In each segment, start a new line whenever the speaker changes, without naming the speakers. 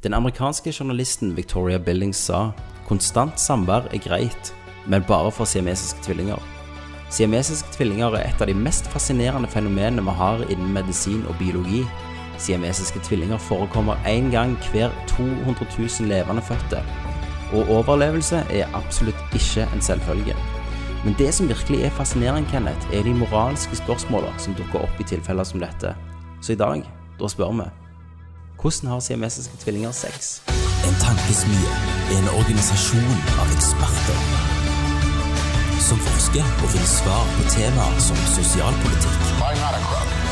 Den amerikanske journalisten Victoria Billings sa konstant samvær er greit, men bare for siamesiske tvillinger. Siamesiske tvillinger er et av de mest fascinerende fenomenene vi har innen medisin og biologi. Siamesiske tvillinger forekommer én gang hver 200 000 levende fødte, og overlevelse er absolutt ikke en selvfølge. Men det som virkelig er fascinerende, Kenneth, er de moralske spørsmålene som dukker opp i tilfeller som dette. Så i dag, da spør vi hvordan har siamesiske tvillinger sex?
En tankesmie er en organisasjon av eksperter som forsker og finner svar på temaer som sosialpolitikk,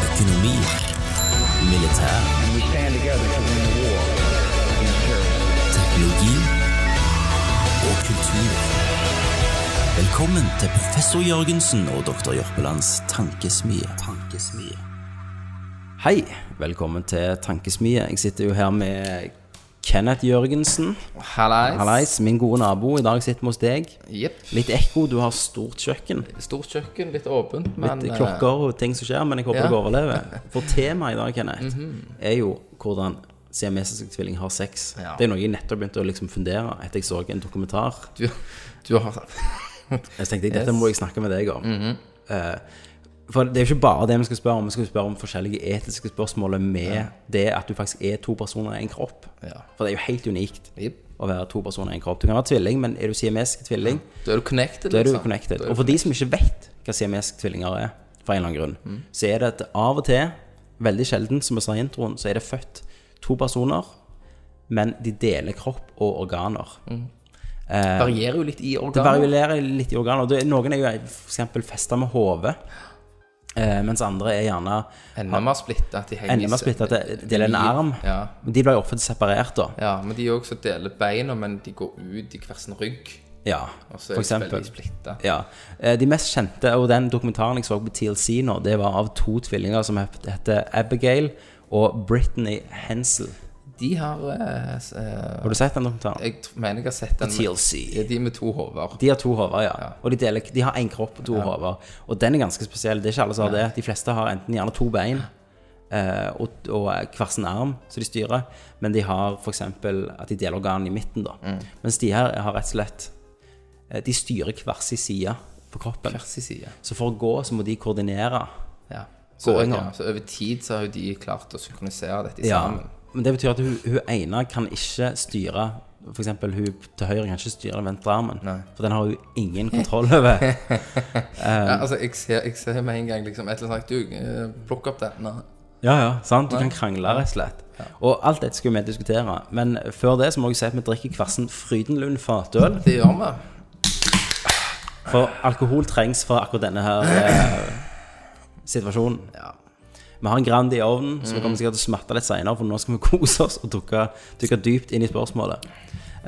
økonomi, militær, teknologi og kultur. Velkommen til professor Jørgensen og doktor Jørpelands tankesmie. tankesmie.
Hei, velkommen til Tankesmie. Jeg sitter jo her med Kenneth Jørgensen.
Hallais.
Hallais, min gode nabo. I dag sitter vi hos deg.
Jepp.
Litt ekko, du har stort kjøkken.
Stort kjøkken, litt åpent, men
Litt
eh,
klokker og ting som skjer, men jeg håper
ja. Mhm.
dere overlever. For temaet i dag, Kenneth, er jo hvordan siamesiske tvilling har sex.
Ja.
Det er noe jeg nettopp begynte å liksom fundere etter jeg så en dokumentar.
Du, du har
Jeg tenkte jeg, dette må jeg snakke med deg om. Eh, for det er jo ikke bare det vi skal spørre om. Vi skal spørre om forskjellige etiske spørsmål med det at du faktisk er to personer i en kropp.
Ja.
For det er jo helt unikt
Jepp.
å være to personer i en kropp. Du kan være tvilling, men er du siamesisk tvilling,
Da er du connected,
da er du
liksom.
connected. Mhm.
Da
Og for de som ikke vet hva siamesiske tvillinger er, for en eller annen grunn, så er det at av og til, veldig sjelden, som jeg sa i introen, så er det født to personer, men de deler kropp og organer. Eh,
Det varierer jo litt i
Det
organet.
varierer litt i organer. Det, noen er jo f.eks. festa med hodet, eh, mens andre er gjerne
Enda mer splitta. at De henger i
enda mer splitta til
seg.
til en arm.
Ja.
Men De blir jo ofte separert, da.
ja, men de er jo også deler beina, men de går ut i hver sin rygg.
Ja,
Og så
for
er de
eksempel.
veldig splitta.
Ja. Eh, De mest kjente, og den dokumentaren jeg så på TLC nå, det var av to tvillinger som het- heter Abigail og Brittany Hensel.
De har eh, s- eh,
Har du sett den dokumentaren?
Jeg t- mener jeg har sett den
TLC.
Ja, de med to hoder.
De har to hoder, ja. Og de, deler, de har én kropp og to hoder. Og den er ganske spesiell. Det er ikke alle som har det. De fleste har enten gjerne to bein eh, og, og hver sin arm som de styrer, men de har f.eks. at de deler organene i midten, da. Mens de her har rett og slett eh, De styrer hver sin side på kroppen.
Hver sin side.
Så for å gå så må de koordinere.
Ja. Så,
Gåinger.
ja, så over tid så har jo de klart å synkronisere dette
Ja.
sammen.
Men det betyr at hun, hun ene kan ikke styre For eksempel hun til høyre kan ikke styre venstre armen.
Nei.
For den har hun ingen kontroll over.
Ja, altså, jeg ser, jeg ser med en gang liksom et eller annet sagt, du, eh, plukk opp den. Nei.
Ja, ja, sant? Du kan krangle, rett og slett. Og alt dette skal vi diskutere. Men før det så må jeg si at vi drikker kvarsen Frydenlund fatøl.
Det gjør vi.
For alkohol trengs for akkurat denne her eh, situasjonen.
Ja.
Vi har en Grandi i ovnen, så vi kommer sikkert til å smatte litt seinere, for nå skal vi kose oss og dukke, dykke dypt inn i spørsmålet.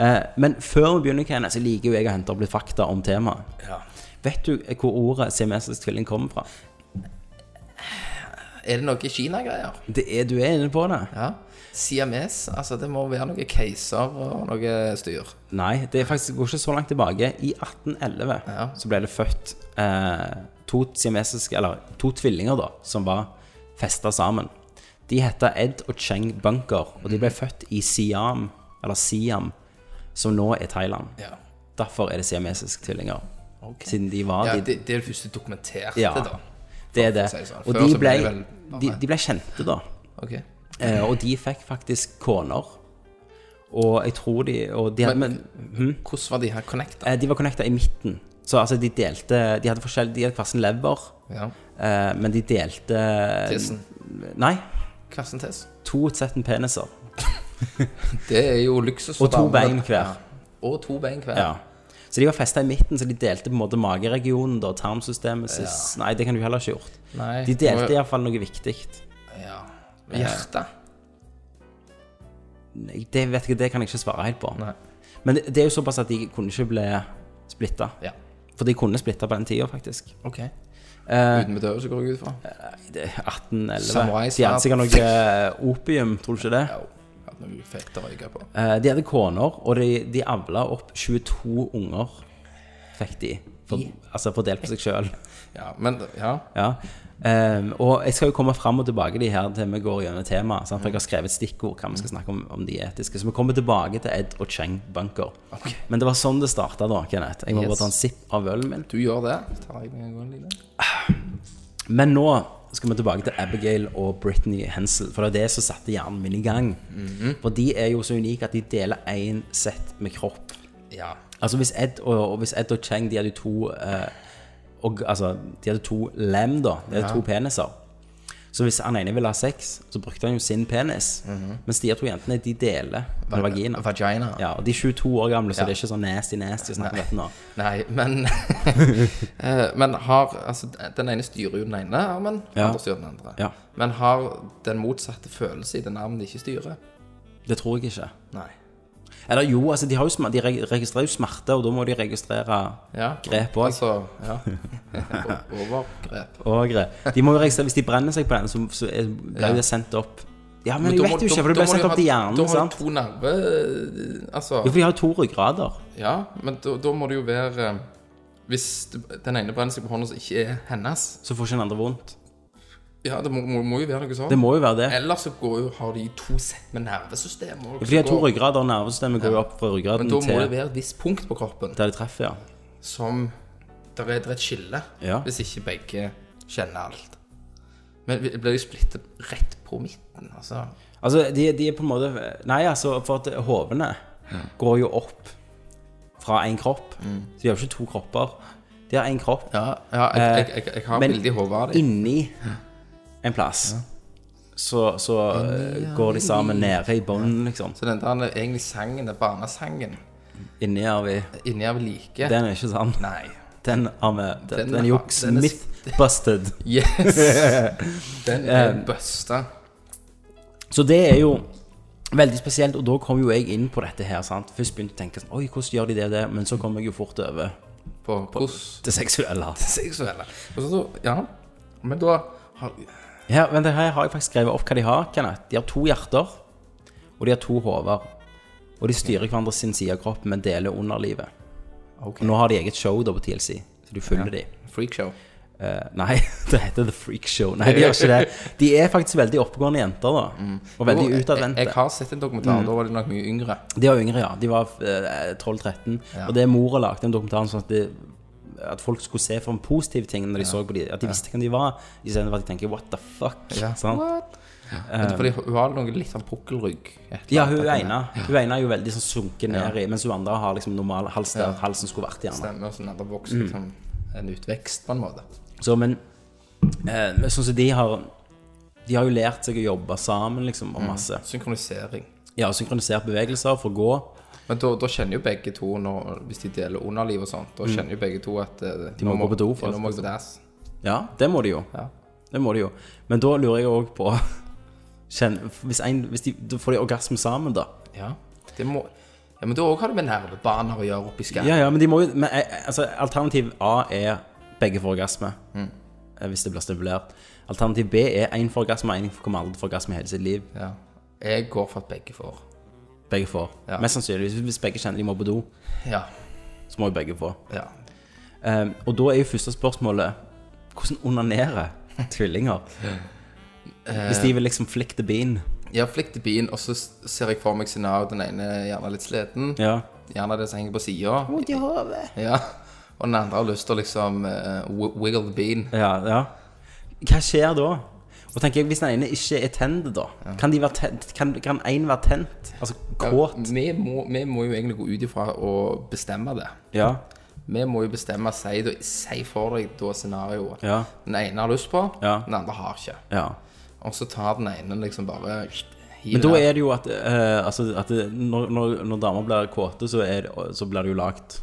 Eh, men før vi begynner, Kenneth, så liker jo jeg å hente opp litt fakta om temaet. Vet du hvor ordet siamesisk tvilling kommer fra?
Er det noe Kina-greier?
Det er, du er inne på det?
Ja. Siames, altså det må være noe keiser og noe styr.
Nei, det er faktisk, går ikke så langt tilbake. I 1811
Ja.
så ble det født eh, to siamesiske, eller to tvillinger da, som var festa sammen. De heter Ed og Cheng Bunker, og de ble
Mm.
født i Siam, eller Siam, som nå er Thailand.
Ja.
Derfor er det siamesiske tvillinger. Siden de var
Ja,
de,
det, det er det første dokumenterte,
Ja.
da.
det er det.
si det sånn.
Og
Før
de
så ble
ble,
de vel-
de, de ble kjente, da.
Ok.
Eh, og de fikk faktisk koner. Og jeg tror de Og de hadde
Men-
men hm?
Hvordan var de her connecta?
Eh, De var connecta i midten. Så altså, de delte De hadde forskjell De hadde hver sin lever,
Ja.
eh, men de delte eh,
Tissen.
Nei.
Karsten Tess.
To sett med peniser.
Det er jo luksus. for
Og to
damer.
bein hver.
Ja. Og to bein hver.
Ja. Så de var festa i midten, så de delte på en måte mageregionen, da, tarmsystemet sitt Nei, det kan du heller ikke gjort.
Nei,
De delte
ja.
iallfall noe viktig.
ja. Hjerte.
Nei, Det vet jeg, det kan jeg ikke svare helt på.
Nei.
Men det, det er jo såpass at de kunne ikke bli splitta.
Ja.
For de kunne splitta på den tida, faktisk.
Ok.
Eh,
Uten bedøvelse går jeg ut fra.
det er 1811
Samurai-sverd.
De hadde sikkert noe eh, opium, tror du ikke det?
Ja. Hadde noe fett å røyke på.
Eh, De hadde koner, og de, de avla opp 22 unger. fikk de. For, altså fordelt på seg sjøl.
Ja, men ja.
Ja. Ehm, og jeg skal jo komme fram og tilbake de her til vi går gjennom temaet. sant? For Jeg har skrevet stikkord hva vi skal snakke om, om de etiske. Så vi kommer tilbake til Ed og Cheng Bunker. Men det var sånn det starta da, Kenneth. Jeg må bare ta en sipp av ølen min.
Du gjør det. Så tar jeg meg en gang lille.
Men nå skal vi tilbake til Abigail og Britney Hensel. For det er det som satte hjernen min i gang. For de er jo så unike at de deler én sett med kropp.
Ja.
Altså hvis Ed og, og, hvis Ed og Cheng de hadde jo to eh, og, altså, De hadde to lem da De hadde to peniser Så hvis han ene ville ha sex Så brukte han jo sin penis
Mhm.
Mens de her to jentene de deler med vagina
Vagina.
Ja, og de er 22 år gamle Så
Ja.
det er ikke sånn nasty nasty å snakke om dette nå
Nei, men eh, Men har Altså, den ene styrer jo den ene armen, den
Ja.
andre styrer den andre.
Ja.
Men har den motsatte følelse i den armen de ikke styrer?
Det tror jeg ikke
Nei.
Eller jo, altså de, har jo sma- de reg- registrerer jo smerte Og da må de registrere
Ja.
Grep også.
Altså, ja. O- Overgrep.
og grep. De må jo registrere Hvis de brenner seg på den Så, så er- blir jo det sendt opp Ja, men, jeg
da må-
vet jo
da-
ikke For det
da
blir
må
sendt
du
opp
ha-
til
Da
hjernen,
har
sant?
du to nerver eh, Altså
Jo, for de har jo to ryggrader
Ja, men da, da må det jo være eh, Hvis det- den ene brenner seg på hånda som ikke er hennes
Så får ikke den andre vondt
Ja, det må, må, må jo være noe sånt.
Det må jo være det
Ellers så går jo, har de to sett med nervesystemer. og
Ja, For de har to
går-
ryggrader, og nervesystemet går jo opp fra
Men
ryggraden
da
til
må det være et visst punkt på kroppen
der de treffer, ja.
som Der er det er et skille,
Ja.
hvis ikke begge kjenner alt. Men vi- blir de splittet rett på midten, altså?
Altså, de, de er på en måte Nei, altså, for at hovene går jo opp fra én kropp.
Mm.
Så de har jo ikke to kropper. De har én kropp
Ja, ja jeg, jeg, jeg, jeg har
Eh, men
bildet i hodet av dem.
inni en plass. Så, så eh, går de sammen nede i bånn, liksom.
Så den der er egentlig sangen, den barnesangen,
Inni har vi
inni her vi liker
Den er ikke sann.
Nei.
Den har vi Den,
Den
den er
har-
juks.
den er-
Myth-busted.
Yes! Den
Eh.
er busta.
Så det er jo veldig spesielt, og da kom jo jeg inn på dette her. sant? Først begynte jeg å tenke sånn Oi, hvordan gjør de det og det? Men så kom jeg jo fort over
På hvordan
det seksuelle.
seksuelle. Og så, ja. Men da har
Her, vent, her har jeg faktisk skrevet opp hva de har. Kenneth. De har to hjerter, og de har to hoder. Og de styrer hverandre sin side av kroppen, men deler underlivet.
Ok.
Og nå har de eget show da på TLC, så du følger de.
Freakshow.
Eh, nei, det heter The Freak Show. Nei, de gjør ikke det. De er faktisk veldig oppegående jenter, da. Og veldig
Mm. Jo, jeg- Jeg, jeg
utadvendte.
har sett en dokumentar,
Mm.
da var de nok mye yngre.
De var yngre, ja. De var eh, 12-13. Og det mora lagde en dokumentar om sånn at, de, at folk skulle se for en positiv ting når de så på de At de visste hvem de var, istedenfor at de tenker 'what the fuck'.
Ja.
Sant? Eh.
Vet du, Fordi hun har noe litt sånn pukkelrygg. et
Ja,
eller
hun
annet,
ene, hun ene er jo veldig sånn sunket ned i, mens hun andre har liksom normal hals der halsen skulle vært.
at
gjerne.
den Stemmer, og sånn at det vokser
Mm.
liksom en utvekst, på en måte.
Så, men eh, men sånn som de har De har jo lært seg å jobbe sammen, liksom, og masse.
Synkronisering.
Ja, synkronisert bevegelser for å gå.
Men da, da kjenner jo begge to, når, hvis de deler underliv og sånt, da kjenner jo begge to at De
Mm. må gå på do liksom. for
for
at-
Nå må jeg på dass.
Ja, det må de jo.
Ja.
Det må de jo. Men da lurer jeg òg på kjenn, hvis, en, hvis de da får de orgasme sammen, da.
ja. Det må Ja, men da òg har det med nervebaner å gjøre oppi skallen.
Ja, ja, men de må jo men, eh, altså, Alternativ A er begge får orgasme. eh, Hvis det blir stimulert. Alternativ B er én får orgasme, én kommer aldri til å få orgasme i hele sitt liv.
Ja. Jeg går for at begge får.
Begge får.
Ja.
Mest sannsynlig. Hvis begge kjenner de må på do,
Ja.
så må jo begge få.
ja.
Ehm, og da er jo første spørsmålet Hvordan onanerer tvillinger? Hvis de vil liksom flick the bean.
Jeg flikter bilen, og så s- ser jeg for meg scenarioet. Den ene er gjerne litt sliten.
Ja.
Gjerne det som henger på sida.
Vondt i hodet.
Ja. Og den andre har lyst til å liksom eh, wi- wiggle the bean.
Ja, ja. Hva skjer da? Og tenker jeg, Hvis den ene ikke er tent, da, kan de være tent, kan, kan en være tent? Altså kåt?
Vi må, vi må jo egentlig gå ut ifra å bestemme det.
Ja.
Vi må jo bestemme si, da- si for deg da scenarioet.
Ja.
Den ene har lyst på,
Ja.
den andre har ikke.
ja.
Og så tar den ene liksom bare hiver
Men da
den.
er det jo at, eh, altså, at det, når, når, når damer blir kåte, så, er det, så blir det jo lagt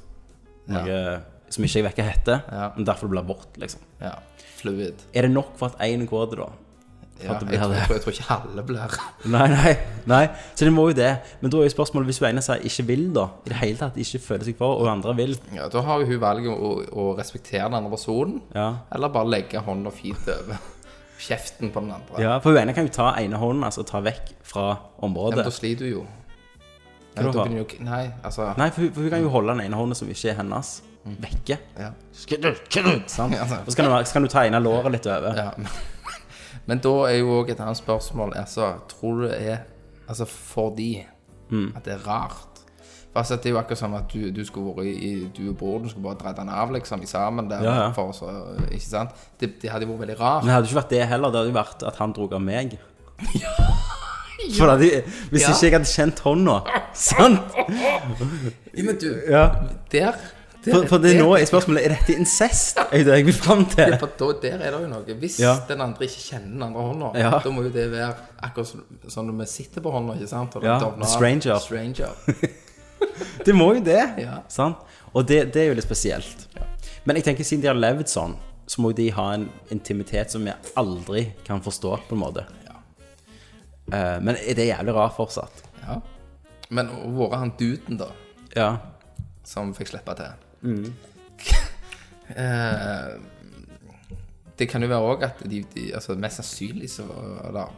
noe som ikke jeg vet hva heter,
Ja.
men derfor det blir abort, liksom.
ja, Fluid.
Er det nok for at én er kåt, da?
Ja,
det blir
jeg, tror,
det.
jeg tror ikke alle blir
Nei, nei, nei. Så det må jo det. Men da er jo spørsmålet hvis hun ene sier ikke vil, da. I det hele tatt ikke føler seg for, og hun andre vil.
ja, Da har jo hun valget å, å respektere den andre personen,
Ja.
eller bare legge hånda fint over kjeften på den andre.
Ja, For hun ene kan jo ta ene hånden, altså ta vekk fra området.
Men da sliter hun jo.
Hva
Nei,
da?
da begynner jo Nei, altså
Nei, for hun, for hun kan jo holde den ene hånden som ikke er hennes.
Mm.
vekke.
Ja.
Sant?
Ja, sant.
Og så kan du, så kan du tegne låret litt over.
Ja. Men da er jo òg et annet spørsmål altså, Tror du det er Altså fordi
Hmm.
at det er rart? For altså, Det er jo akkurat som at du, du skulle vært i, i Du og broren skulle bare dratt den av liksom, i sammen der.
Ja, ja.
For, så, øh, ikke sant? Det, det hadde jo vært veldig rart.
Men det hadde jo ikke vært det heller. Det hadde jo vært at han drog av meg. For at jeg- hvis
Ja.
ikke jeg hadde kjent hånda Sant?
Ja, men du,
Ja.
der, der
For, for det
der-
nå er spørsmålet Er dette incest? Er det jeg vil fram til?
For da, der er det jo noe. Hvis
Ja.
den andre ikke kjenner den andre hånda,
Ja.
da må jo det være akkurat som- sånn når vi sitter på hånda, ikke sant? Og
Ja,
dovner av.
stranger.
stranger.
Det må jo det.
Ja.
Sant? Og det, det er jo litt spesielt. Men jeg tenker siden de har levd sånn, så må jo de ha en intimitet som vi aldri kan forstå, på en måte. Eh, men er det er jævlig rart fortsatt.
Ja. Men å være han duden, da,
Ja.
som fikk slippe til
Mm.
Eh, Det kan jo være òg at de, de altså Mest sannsynlig så eller,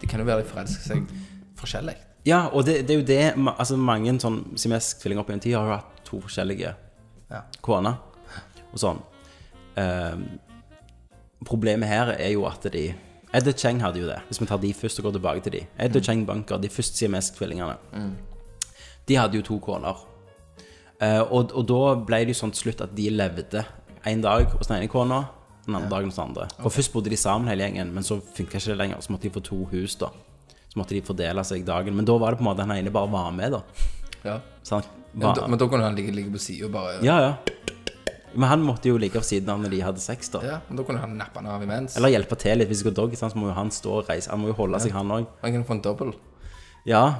Det kan jo være de forelsker seg forskjellig.
ja, og det, det er jo det ma- altså, Mange sånn siamesisk-tvillinger opp i en tid har jo hatt to forskjellige
Ja.
koner og sånn. Eh, problemet her er jo at de Ed og Cheng hadde jo det, hvis vi tar de først og går tilbake til de.
Mm.
Ed og Cheng Bunker, de første siamesisk-tvillingene. De hadde jo to koner. Eh, og, og da ble det jo sånn til slutt at de levde en dag hos den ene kona, den andre dagen hos den andre. For først bodde de sammen hele gjengen, men så funka ikke det lenger. Så måtte de få to hus, da. Så måtte de fordele seg dagen. Men da var det på en måte han ene bare var med, da.
Ja.
Så han
Men,
var,
da, men da kunne han ligge, ligge på sida og bare ja.
ja, ja. Men han måtte jo ligge ved siden av når de hadde sex, da.
men Da kunne han nappe han av imens.
Eller hjelpe til litt. Hvis det går doggy, sant, så må jo han stå og reise. Han må jo holde seg, han òg.
Han kunne få en dobbel.
Ja.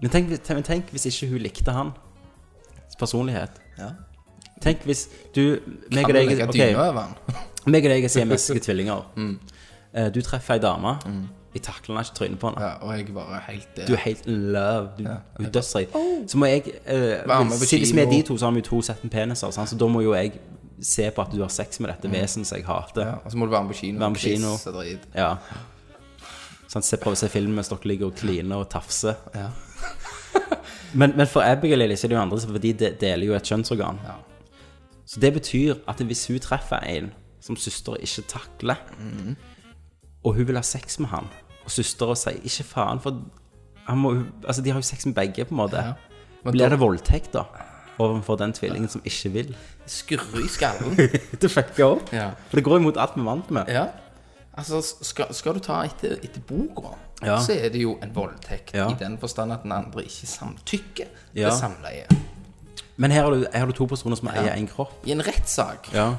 Men tenk, tenk, men tenk hvis ikke hun likte han. Personlighet.
Ja.
Tenk hvis du meg
Kan
og
du
deg,
legge
ok,
dyna Mm. over han?
meg og deg er siamesiske tvillinger. Eh, Du treffer ei dame. Jeg takler henne ikke i trynet på henne.
Mm. Ja, og jeg bare helt eh,
Du er helt in love. Du, Hun døsser i. Så må jeg eh,
Være med på
Siden vi er
kino.
de to, så har vi jo to sett med peniser, sant? så da må jo jeg se på at du har sex med
Mm.
dette vesenet som jeg hater.
ja, Og så må du være med på kino.
Være med på
Chris
kino.
og drit.
Ja. Sånn, se, prøv å se film mens dere ligger og kliner og tafser.
Ja.
Men, men for Abigail Lilly så er det jo andre, for de de- deler jo et kjønnsorgan.
Ja.
Så det betyr at hvis hun treffer en som søsteren ikke takler,
Mm.
og hun vil ha sex med han, og søsteren sier 'ikke faen', for han må, jo- altså, de har jo sex med begge, på en måte.
Ja. Men
Blir
da-
det voldtekt, da? Overfor den tvillingen som ikke vil?
Skurre i skallen.
Det fucker opp.
Ja.
For det går imot alt vi er vant med.
Ja. Altså, skal, skal du ta etter, etter boka,
Ja.
så er det jo en voldtekt
Ja.
i den forstand at den andre ikke samtykker
Ja.
til samleie.
Men her har du, her har du to personer som eier én kropp.
I en rettssak.
Ja.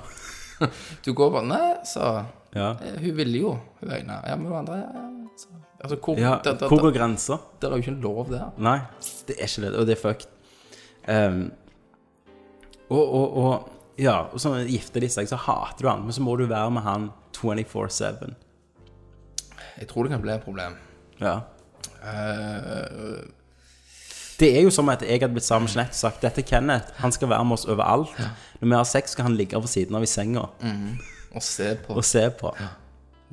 Du går bare Nei, så
Ja.
eh, Hun ville jo hun øyne. Ja, men hun andre ja, ja, så. Altså, hvor,
Ja,
der, der,
hvor
der,
går grensa?
der er jo ikke en lov der.
Nei, det er ikke det, og det er fucked. Ehm, og, og, og ja, og så gifter de seg, så hater du han, men så må du være med han 24-7.
Jeg tror det kan bli et problem.
Ja.
Eh,
Det er jo som at jeg hadde blitt sammen med Jeanette og sagt dette er Kenneth, han skal være med oss overalt. Når vi har sex, skal han ligge ved siden av i senga
og se på
og se på.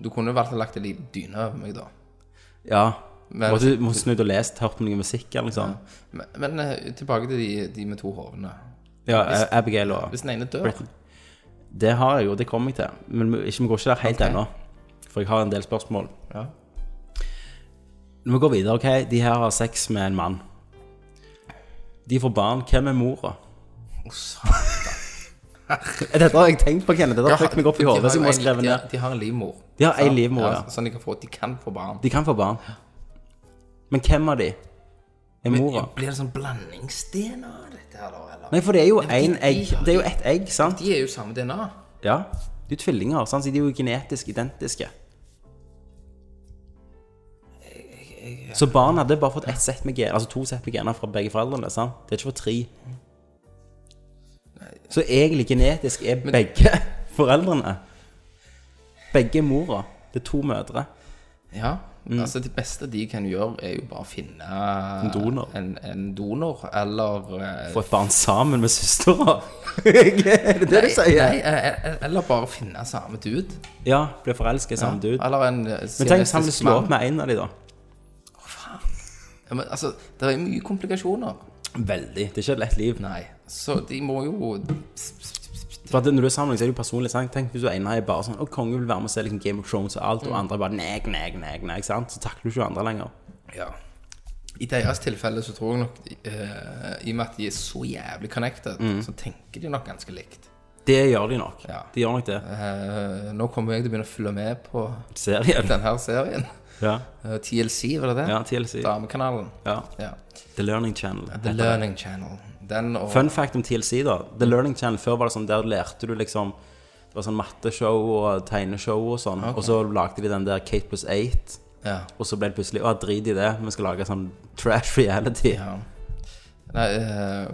Du kunne valgt å lagt en liten dyne over meg, da.
Ja.
Men-
Må du må snudd og lest, hørt på noe musikk eller noe sånt.
Men, men eh, tilbake til de, de med to hovne.
Ja, eh, Abigail og
Hvis den ene dør
Britain. Det har jeg jo, det kommer jeg til. Men vi- ikke, vi går ikke der helt ennå. For jeg har en del spørsmål.
Ja.
Vi går videre, ok? De her har sex med en mann. De får barn. Hvem er mora?
Å, satan.
Dette har jeg tenkt på, Kenneth. Dette har fucket meg opp i
de har
hodet. så jeg
jo
må
en-
skrive
de
ned.
har- De har en livmor.
De har en
Sant?
livmor, ja.
Sånn de kan få, de kan få barn.
De kan få barn. Men hvem av de er mora?
Blir det sånn blandingsdna, dette her, da? Eller?
Nei, for det er jo en
de-
egg. Det er jo ett egg, sant?
De er jo samme DNA.
Ja. De er jo tvillinger, sant? Så de er jo genetisk identiske. Så barn hadde bare fått ett sett med gener, altså to sett med gener fra begge foreldrene. sant? Det er ikke for tre. Så egentlig genetisk er begge foreldrene. Begge er mora. Det er to mødre.
Ja.
Mm.
Altså, det beste de kan gjøre, er jo bare å finne En
donor.
En, en donor eller eh,
Få et barn sammen med søstera. er det det du sier?
Nei, eh, eller bare finne samme dude.
Ja, bli forelska i samme dude.
Eller en eh,
Men tenk hvis han vil
siamesisk
slå
mann.
opp med en av de, da.
Ja, men, altså, det er mye komplikasjoner.
Veldig. Det er ikke et lett liv.
Nei. Så de må jo
For at Når du er sammen, så er det jo personlig. Sant? Tenk hvis du ene er bare sånn Å, kongen vil være med og se liksom Game of Thrones og alt, og andre bare nei, nei, nei, nei, ikke sant? Så takler du ikke andre lenger.
Ja. I deres tilfelle så tror jeg nok eh, I og med at de er så jævlig connected,
Mm.
så tenker de nok ganske likt.
Det gjør de nok.
Ja.
De gjør nok det.
Eh, nå kommer jeg til å begynne å følge med på
Serien.
denne her serien.
Ja.
Eh, TLC, var det det?
ja, TLC.
Damekanalen.
Ja.
Ja.
The Learning Channel.
The Learning Channel. Den og
Fun fact om TLC, da. The Learning Channel før var det sånn, der lærte du liksom Det var sånn matteshow og tegneshow og sånn. Og så lagde de den der Kate pluss eight.
Ja.
Og så ble det plutselig Å, drit i det, vi skal lage sånn trash reality.
ja. Nei, eh,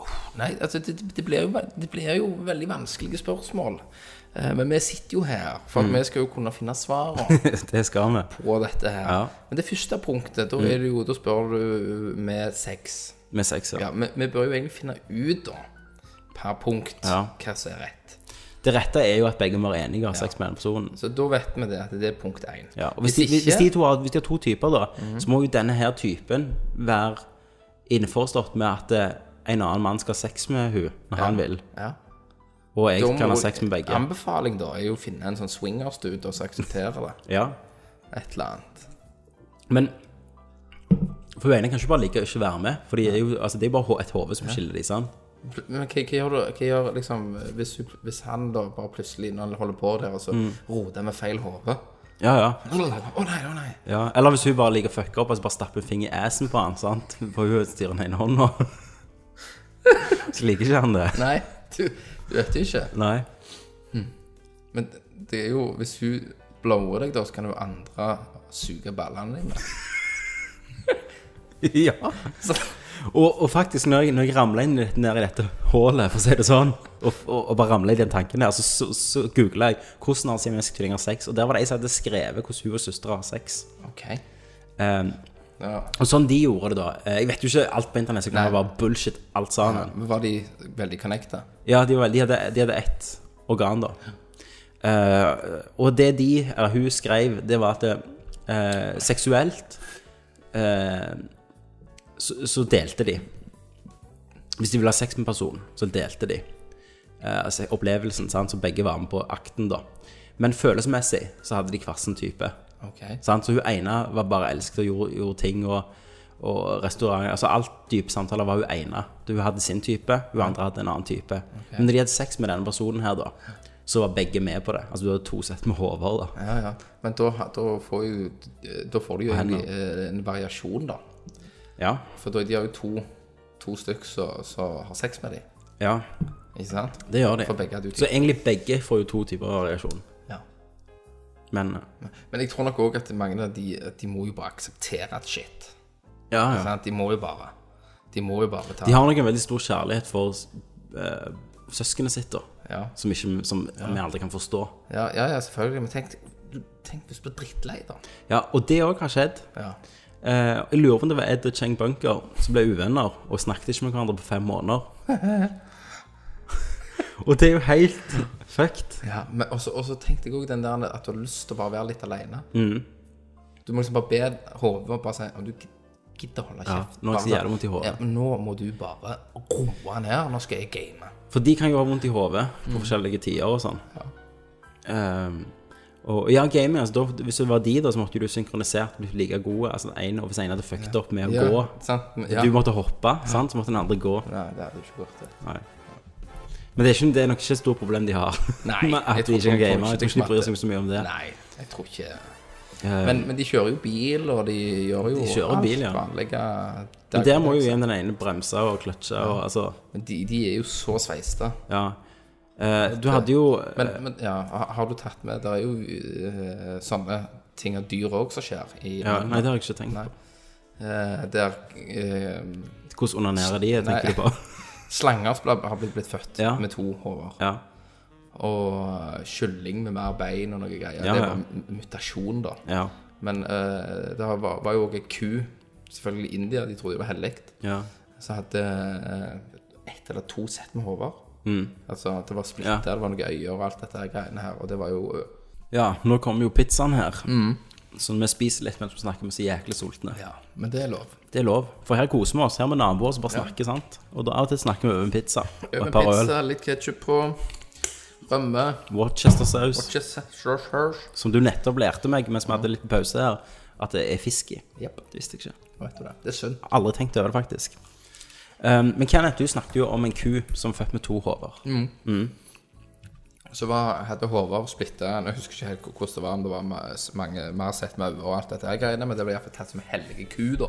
uff, nei altså det, det, blir jo, ve- det blir jo veldig vanskelige spørsmål. Eh, men vi sitter jo her, for at
Mm.
vi skal jo kunne finne svarene.
det skal vi.
på dette her.
Ja. Mm.
Men det første punktet, da er det jo, da spør du med sex.
Med seks, ja.
Ja, vi, vi bør jo egentlig finne ut da, per punkt,
Ja.
hva som er rett.
Det rette er jo at begge må være enige og ha sex med den personen.
Så da vet vi det, at det er punkt 1.
Ja, og hvis, de, hvis, de to har, hvis de har to typer, da,
Mhm.
så må jo denne her typen være innforstått med at eh, en annen mann skal ha sex med hun når han vil.
ja.
Og jeg
Da må-
kan ha sex med begge.
Anbefaling da er jo å finne en sånn swingerstude og så akseptere det.
Ja.
Et eller annet.
Men for hun ene kan ikke bare like å ikke være med, for de er jo, altså, det er bare ho- et hode som skiller de, sant?
Men hva, hva gjør du hva gjør, liksom, hvis, hun- hvis han da bare plutselig, når han holder på der, og så roter med feil hode?
Ja, ja,
Mm. Å nei, å nei.
ja. Eller hvis hun bare liker å fucke opp, altså bare stappe en finger i assen på han, sant? For hun styrer den ene hånda. Så liker ikke han det.
Nei, du, du vet jo ikke.
Nei.
Men det er jo Hvis hun blower deg, da, så kan jo andre suge ballene dine.
Ja.
Så,
Og, og faktisk, når jeg, når jeg ramla inn litt ned i dette hullet, for å si det sånn, og, og, og bare ramla i den tanken der, så, så, så googla jeg 'Hvordan har siamesiske tvillinger sex?' Og der var det ei som hadde skrevet hvordan hun og søstera har sex.
OK.
Ehm,
Ja.
og sånn de gjorde det, da. Eh, Jeg vet jo ikke alt på internett, så kan det være bullshit alt sammen.
Men var de veldig connecta?
Ja, de, var, de, hadde, de hadde ett organ, da. Eh, og det de, eller hun skrev, det var at eh, seksuelt eh, så, så delte de. Hvis de ville ha sex med en person, så delte de. Eh, altså opplevelsen, sant? så begge var med på akten, da. Men følelsesmessig så hadde de hver sin type.
OK.
Sant? Så hun ene var bare elsket og gjorde, gjorde ting og, og restaurant Altså alt dype samtaler var hun ene. Hun hadde sin type, hun andre hadde en annen type. Men når de hadde sex med denne personen her, da, så var begge med på det. Altså du hadde to sett med hoder, da.
Ja, ja. Men da, da får jo Da får du jo egentlig eh, en variasjon, da.
Ja.
For da de har jo to, to stykk som som har sex med dem.
ja.
Ikke sant?
Det gjør de.
For begge hadde jo
Så egentlig begge får jo to typer variasjon.
Ja.
Men
Men jeg tror nok òg at mange av de, at de må jo bare akseptere at shit.
ja, ja.
Sant? De må jo bare De må jo bare ta
De har nok en veldig stor kjærlighet for eh, søskenet sitt, da.
Ja.
Som, ikke, som vi aldri kan forstå.
Ja, ja, ja, selvfølgelig. Men tenk, du- tenk hvis du blir drittlei, da.
Ja, og det òg har skjedd.
Ja.
Eh, jeg lurer på om det var Ed og Cheng Bunker som ble uvenner og snakket ikke med hverandre på fem måneder. og det er jo helt fucked.
Ja, men også, også tenkte jeg også den der at du har lyst til å bare være litt alene.
Mm.
Du må liksom bare be hodet og bare si om du gidder å holde kjeft.
nå har jeg
Bare
så jævlig
sånn,
vondt i hodet.
Ja, men nå må du bare roe ned. Nå skal jeg game.
For de kan jo ha vondt i hodet på
Mm.
forskjellige tider og sånn. Ehm, og ja, gaming, altså, da, hvis det var de, da, så måtte jo du synkronisert blitt like gode. Altså, en, og hvis en hadde fucket opp med å
Ja,
gå,
sant? Men- Ja.
du måtte hoppe, sant? så måtte den andre gå.
Nei, det hadde jo ikke gått. det.
Nei. Men det er, ikke, det er nok ikke et stort problem de har.
Nei,
Med at
jeg
de
tror-
ikke kan
jeg tror
game.
ikke
Jeg tror
det
ikke de bryr seg
smatter.
så mye om det.
Nei, jeg tror ikke
Eh,
men, men de kjører jo bil, og de gjør jo
De kjører bil, ja.
Vanlige,
Men der må jo igjen den ene bremse og kløtsje og altså
Men de, de er jo så sveiste.
Ja. Eh, du hadde jo
Men, men ja, har har du tatt med Det er jo eh, sånne ting av dyr òg som skjer. I,
ja, Nei, det har jeg ikke tenkt
Nei.
på.
Eh, der eh,
Hvordan onanerer de, jeg tenker
Nei.
du på?
Slanger som ble- har blitt, blitt født
Ja.
med to hoder.
Ja.
Og eh, kylling med mer bein og noe greier.
Ja,
det
ja.
var m- mutasjon, da.
Ja.
Men eh, det var, var jo òg ei ku, selvfølgelig i India, de trodde det var hellig,
Ja.
som hadde eh, ett eller to sett med hoder. Altså det var splitter,
Mm. Ja.
det var noen øyer og alt dette her greiene her, og det var jo
ja. Nå kommer jo pizzaen her. Så vi spiser litt mens vi snakker, vi er så jæklig sultne.
Mm. Ja, men det er lov.
Det er lov. For her koser vi oss. Her med naboer som bare snakker, sant. Og da av og til snakker vi over en pizza. Og
Over
et par øl.
pizza, litt ketsjup på, rømme
Worcestersaus.
Chessers.
Som du nettopp lærte meg mens vi hadde litt pause her, at det er fisk i.
Jepp.
Det visste jeg ikke.
Vet du det. Det er synd.
Aldri tenkt over det, faktisk. Um, men Kenneth, du snakket jo om en ku som er født med to hoder.
Så var, hadde Håvard splitta Jeg husker ikke helt hvordan det var, om det var ma- mange Vi har sett maur og alt dette her greiene, men det ble iallfall tatt som hellige ku, da.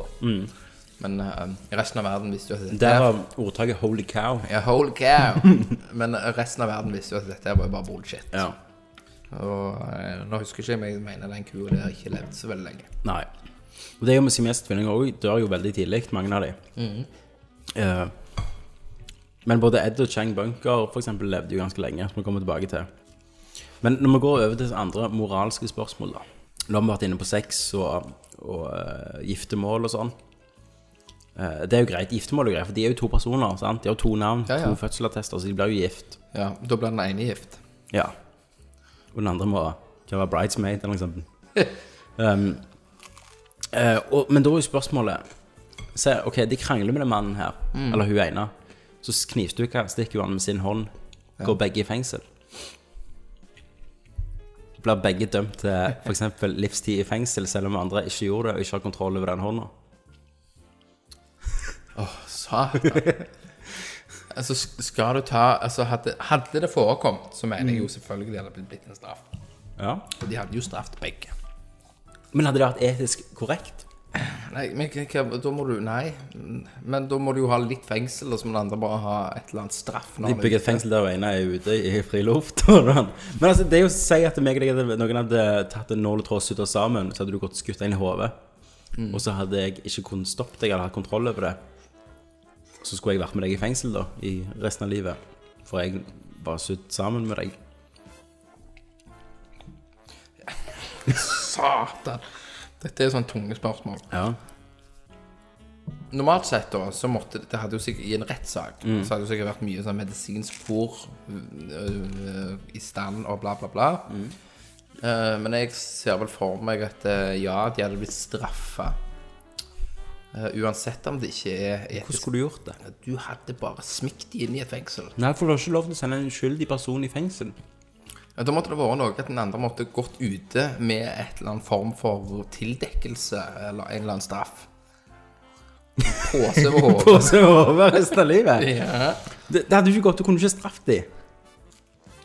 Men eh, resten av verden visste jo at
Mm. Der var ordtaket 'holy cow'.
Ja, whole cow. Men eh, resten av verden visste jo at dette her var jo bare bullshit.
Ja.
Og eh, nå husker jeg ikke om jeg mener den kua der ikke levde så veldig lenge.
Nei. Og det er jo med siamesiske tvillinger òg. Dør jo veldig tidlig, mange av dem. Eh, men både Ed og Chang Bunker for eksempel, levde jo ganske lenge, som vi kommer tilbake til. Men når vi går over til andre moralske spørsmål, da. Nå har vi vært inne på sex og, og eh, giftermål og sånn. Eh, det er jo greit. Giftermål er jo greit, for de er jo to personer. sant? De har jo to navn,
Ja, ja.
to fødselsattester, så de blir jo gift.
Ja, Da ble den ene gift.
Ja. Og den andre må kan være bridesmaid, eller noe sånt. Um, eh, og, men da er jo spørsmålet Se, OK, de krangler med den mannen her, eller hun ene. Så knivstukker stikker hun han med sin hånd. Går begge i fengsel. Blir begge dømt til f.eks. livstid i fengsel, selv om andre ikke gjorde det og ikke har kontroll over den hånda.
Satan. altså, sk- skal du ta altså, hadde, hadde det forekommet, så mener
Mm.
jeg jo selvfølgelig det hadde blitt- blitt en straff.
Ja.
Og de hadde jo straffet begge.
Men hadde det vært etisk korrekt?
Nei, men hva- hva- da må du Nei. Men da må du jo ha litt fengsel, og så må den andre bare ha et eller annet straff. når
De
han er
bygger et fengsel der hun ene er ute i friluft. og sånn. Men altså, det er jo å si at meg og deg hadde, noen hadde tatt en nål og tråd og suttet sammen, så hadde du gått skutt inn i hodet. Og så hadde jeg ikke kunnet stoppe deg eller hatt kontroll over det. Så skulle jeg vært med deg i fengsel da, i resten av livet. For jeg var sutt sammen med deg.
Satan! Dette er jo sånn tunge spørsmål.
Ja.
Normalt sett da, så måtte det hadde jo sikkert, I en rettssak så hadde det jo sikkert vært mye sånn medisinsk fôr øh, øh, i stand og bla, bla, bla. Eh, men jeg ser vel for meg at eh, ja, de hadde blitt straffa. Eh, uansett om det ikke er
Hvordan
etisk.
skulle du gjort det?
Du hadde bare smikt de inn i et fengsel.
Nei, for du har ikke lov til å sende en uskyldig person i fengsel.
Ja, Da måtte det vært noe at den andre måtte gått ute med et eller annen form for tildekkelse eller en eller annen straff. Påse over hodet.
Og så over resten av livet.
Ja.
Det, det hadde jo ikke gått, du kunne ikke straffet dem.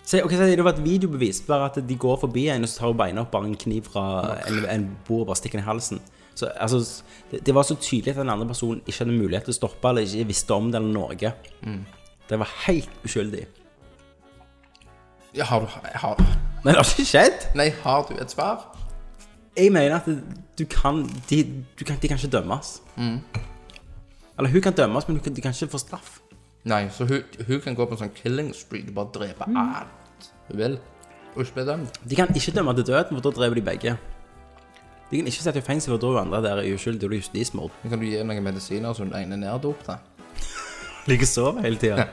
Se, ok, så det var et videobevis, bare at de går forbi en, og så tar hun beina opp bare en kniv fra en, en bord og bare stikker den i halsen. Så, altså, det, det var så tydelig at den andre personen ikke hadde mulighet til å stoppe, eller ikke visste om det eller noe. Det var helt uskyldig.
Ja, har du har,
Men det har ikke skjedd.
Nei, har du et svar?
Jeg mener at du kan, de, du kan, de kan ikke dømmes. Eller hun kan dømmes, men hun kan, de kan ikke få straff.
Nei, så hun, hun kan gå på en sånn killing street og bare drepe alt hun vil. Og ikke bli dømt.
De kan ikke dømme til døden, for da dreper de begge. De kan ikke sette i fengsel, for da er jo andre der er uskyldige og det er justismord.
Men kan du gi noen medisiner så hun ene neddopte?
Ligger og sover hele tida.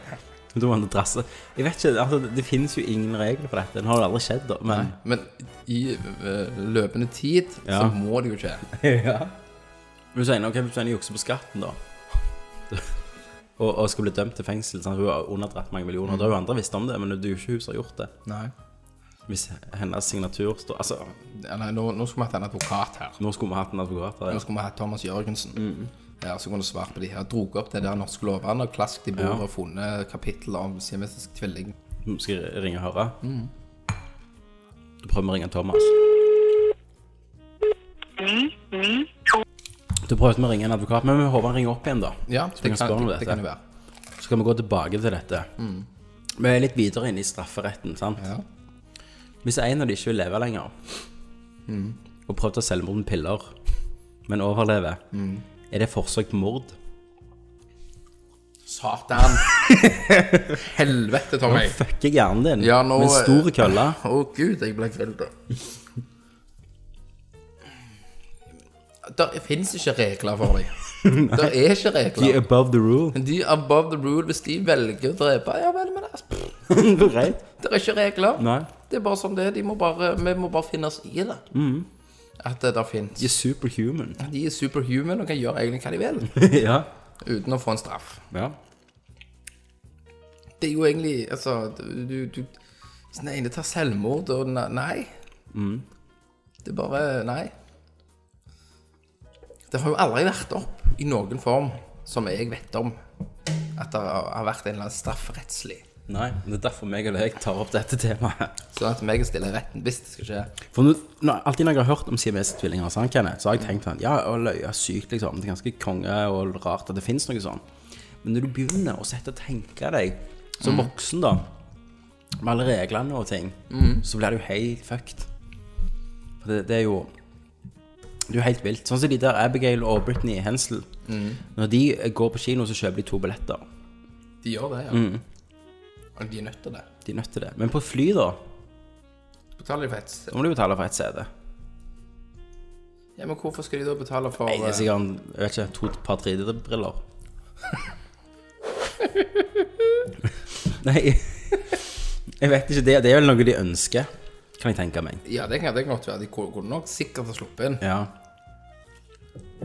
Da må han drasse. Jeg vet ikke, altså, det finnes jo ingen regler for dette. Det har jo aldri skjedd, da. Men
Men i øh, løpende tid så
Ja.
må det jo skje.
ja. Hvis du ender okay, hvis du ender jukser på skatten, da, og, og skal bli dømt til fengsel sånn, Hun har underdratt mange millioner. Da har jo andre visst om det, men det er jo ikke hun som har gjort det.
Nei.
Hvis hennes signatur står Altså,
Ja, nei nå, nå skulle vi hatt en advokat her.
nå skulle vi hatt en advokat der.
Nå
ja.
skulle vi hatt Thomas Jørgensen. Ja, så kunne du svart på de her. Drog opp det der norske lovene og klasket i bordet
Ja.
og funnet kapittel om siamesisk tvilling.
Nå Mm, Skal jeg ringe og høre?
Mm.
Da prøver vi å ringe Thomas. Da prøvde vi å ringe en advokat, men vi håper han ringer opp igjen, da.
Ja,
Så vi
det
kan spørre
kan,
om
det
dette.
kan det være.
Så kan vi gå tilbake til dette. Vi er litt videre inne i strafferetten. sant?
Mm. Ja.
Hvis en av de ikke vil leve lenger,
Mm.
og prøver å ta selvmord med piller, men overlever,
Mm.
er det forsøk på mord?
Satan! Helvete, Tommy.
Fucker hjernen din
Ja, nå- eh,
med en stor kølle.
Å gud, jeg ble grillet. Det finnes ikke regler for dem. Det er
The
ikke regler.
above the rule.
De er above the rule, hvis de velger å drepe, ja vel, men det er-
Greit.
det er ikke regler.
Nei. Mm.
Det er bare sånn det er. De må bare, vi må bare finne oss i det. At det der finnes
De er superhuman.
De er superhuman og kan gjøre egentlig hva de vil,
ja.
uten å få en straff.
ja.
Det er jo egentlig Altså, du, du så Den ene tar selvmord, og den Nei.
Mm.
Det er bare Nei. Det har jo aldri vært opp i noen form som jeg vet om, at det har vært en eller annen strafferettslig.
Nei, det er derfor meg og deg tar opp dette temaet.
Sånn at meg stiller retten hvis det skal skje.
For nå, når, alltid når jeg har hørt om siamese-tvillinger, sant, Kenneth, så har jeg tenkt sånn, ja, å løye sykt, liksom. Det er ganske konge og rart at det finnes noe sånn. Men når du begynner å sette og tenke deg, som voksen da, med alle reglene og ting, så blir det jo helt fucked. For det, det er jo, det er jo helt vilt. Sånn som de der Abigail og Britney Hensel.
Mm.
Når de går på kino, så kjøper de to billetter.
De gjør det, ja.
Mm.
Og de er nødt til det.
De er nødt til det. Men på et fly da,
Betaler de for et
så må de betale for et CD.
Ja, men hvorfor skal de da betale for eh,
Nei, det er sikkert, jeg vet ikke, to par 3D-briller. Nei, jeg vet ikke, det, det er vel noe de ønsker, kan jeg tenke meg.
eh, Ja, det kan det kan godt være. De kunne kunne nok sikkert ha sluppet inn.
Ja,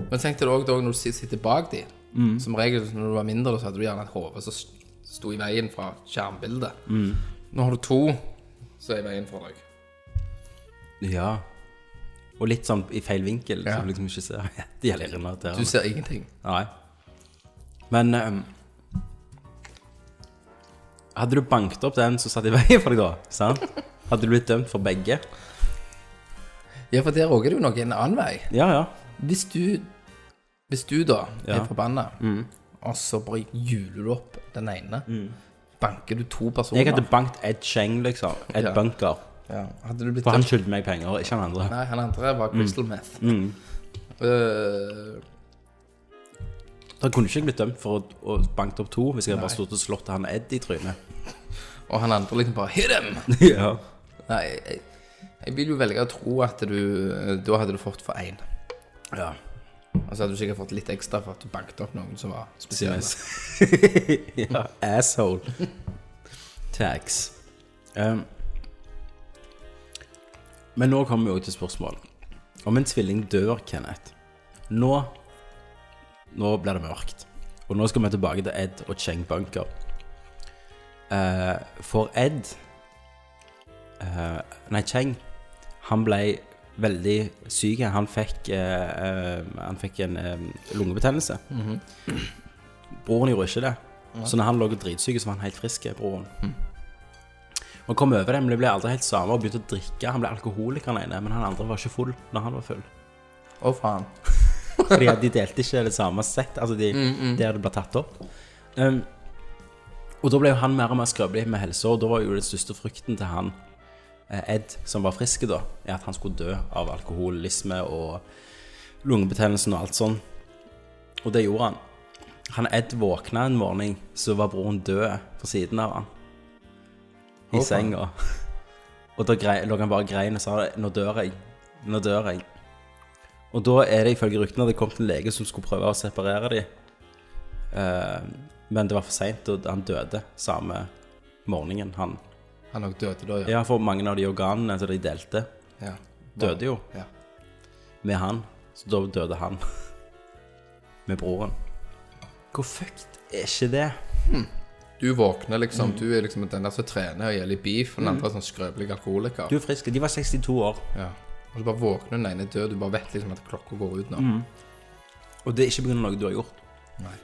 Men tenk deg òg når du sit- sitter bak de.
Mm.
Som regel når du var mindre, så hadde du gjerne et hode som s- sto i veien fra skjermbildet.
Mm.
Nå har du to som er i veien for deg.
ja. Og litt sånn i feil vinkel,
Ja.
så du liksom ikke ser de heller
Du
irriterende.
ser ingenting.
Nei. Men, ehm, hadde du bankt opp den som satt i veien for deg da, sant? Hadde du blitt dømt for begge?
Ja, for der òg er det jo noe en annen vei.
Ja, ja.
Hvis du Hvis du da
Ja. Mm.
er forbanna, og så bare hjuler du opp den ene, banker du to personer
Jeg hadde bankt Ed Cheng, liksom. Ed
Ja.
Bunker.
ja. hadde du blitt
For han Mm. skyldte meg penger, ikke han andre.
Nei, han andre var Crystal Meth. Øh,
Da kunne ikke jeg blitt dømt for å, å banke opp to hvis jeg hadde bare stått og slått han Ed i trynet.
og han andre liksom bare Hit him!
ja.
Nei, jeg, jeg vil jo velge å tro at du eh, Da hadde du fått for én.
ja.
Og så hadde du sikkert fått litt ekstra for at du banket opp noen som var spesielle.
ja. Asshole. Tax. Um, men nå kommer vi også til spørsmål. Om en tvilling dør, Kenneth Nå Nå blir det mørkt. Og nå skal vi tilbake til Ed og Cheng Bunker. Eh, for Ed eh, Nei, Cheng, han ble veldig syk. Han fikk, eh, eh, han fikk en eh, lungebetennelse. Broren gjorde ikke det. Så når han lå dritsyk, så var han helt frisk, broren. Han kom over det, men det ble aldri helt samme. og Begynte å drikke. Han ble alkoholiker, den ene, men han andre var ikke full når han var full.
Å, faen.
Fordi at de delte ikke det samme sett, altså de,
Mm.
der det ble tatt opp. Um, og da ble jo han mer og mer skrøpelig med helse, og da var jo den største frykten til han, eh, Ed, som var friske da, er at han skulle dø av alkoholisme og lungebetennelsen og alt sånn. Og det gjorde han. Han Ed våkna en morgen, så var broren død på siden av han. I
Å, faen.
senga. Og da grei, lå han bare og grein og sa nå dør jeg, nå dør jeg. Og da er det ifølge ryktene at det kom til en lege som skulle prøve å separere dem. men det var for seint, og han døde samme morgenen. Han.
Han nok døde da, ja.
Ja, for mange av de organene som de delte,
ja.
døde jo
Ja.
med han. Så da døde han med broren. Hvor fucked er ikke det?
Du våkner
Mm.
liksom, du er liksom den der som trener og gjelder beef, og den andre er sånn skrøpelig alkoholiker.
Du er frisk. De var 62 år,
Ja. Og så bare våkner den ene død, du bare vet liksom at klokka går ut
Mm.
nå.
og det er ikke pga. noe du har gjort.
Nei.